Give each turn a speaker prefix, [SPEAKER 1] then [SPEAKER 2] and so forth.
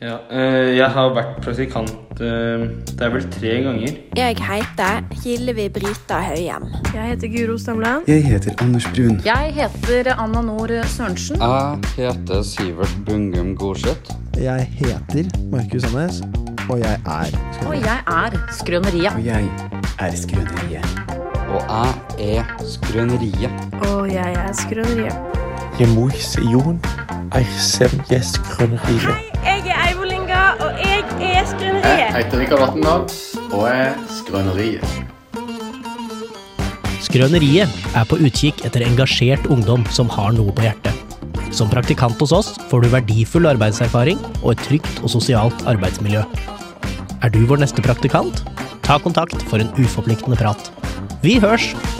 [SPEAKER 1] Ja, eh, jeg har vært praktikant eh, det er vel tre ganger.
[SPEAKER 2] Jeg heter Hillevi Brita Høyem.
[SPEAKER 3] Jeg heter Guro Stamland.
[SPEAKER 4] Jeg heter Anders Brun.
[SPEAKER 5] Jeg heter Anna Nord Sørensen.
[SPEAKER 6] Jeg heter Sivert Bungum Gorseth.
[SPEAKER 7] Jeg heter Markus Annes, og jeg er
[SPEAKER 5] Og jeg er Skrøneriet.
[SPEAKER 4] Og jeg er Skrøneriet.
[SPEAKER 6] Og jeg er Skrøneriet.
[SPEAKER 3] Og jeg er Skrøneriet.
[SPEAKER 8] Jeg moiser jorden. Jeg ser gjest grønneriet.
[SPEAKER 3] Jeg er Eivolinga, og jeg er Skrøneriet.
[SPEAKER 9] heter Rikard Vatndal og er Skrøneriet.
[SPEAKER 10] Skrøneriet er på utkikk etter engasjert ungdom som har noe på hjertet. Som praktikant hos oss får du verdifull arbeidserfaring og et trygt og sosialt arbeidsmiljø. Er du vår neste praktikant? Ta kontakt for en uforpliktende prat. Vi hørs!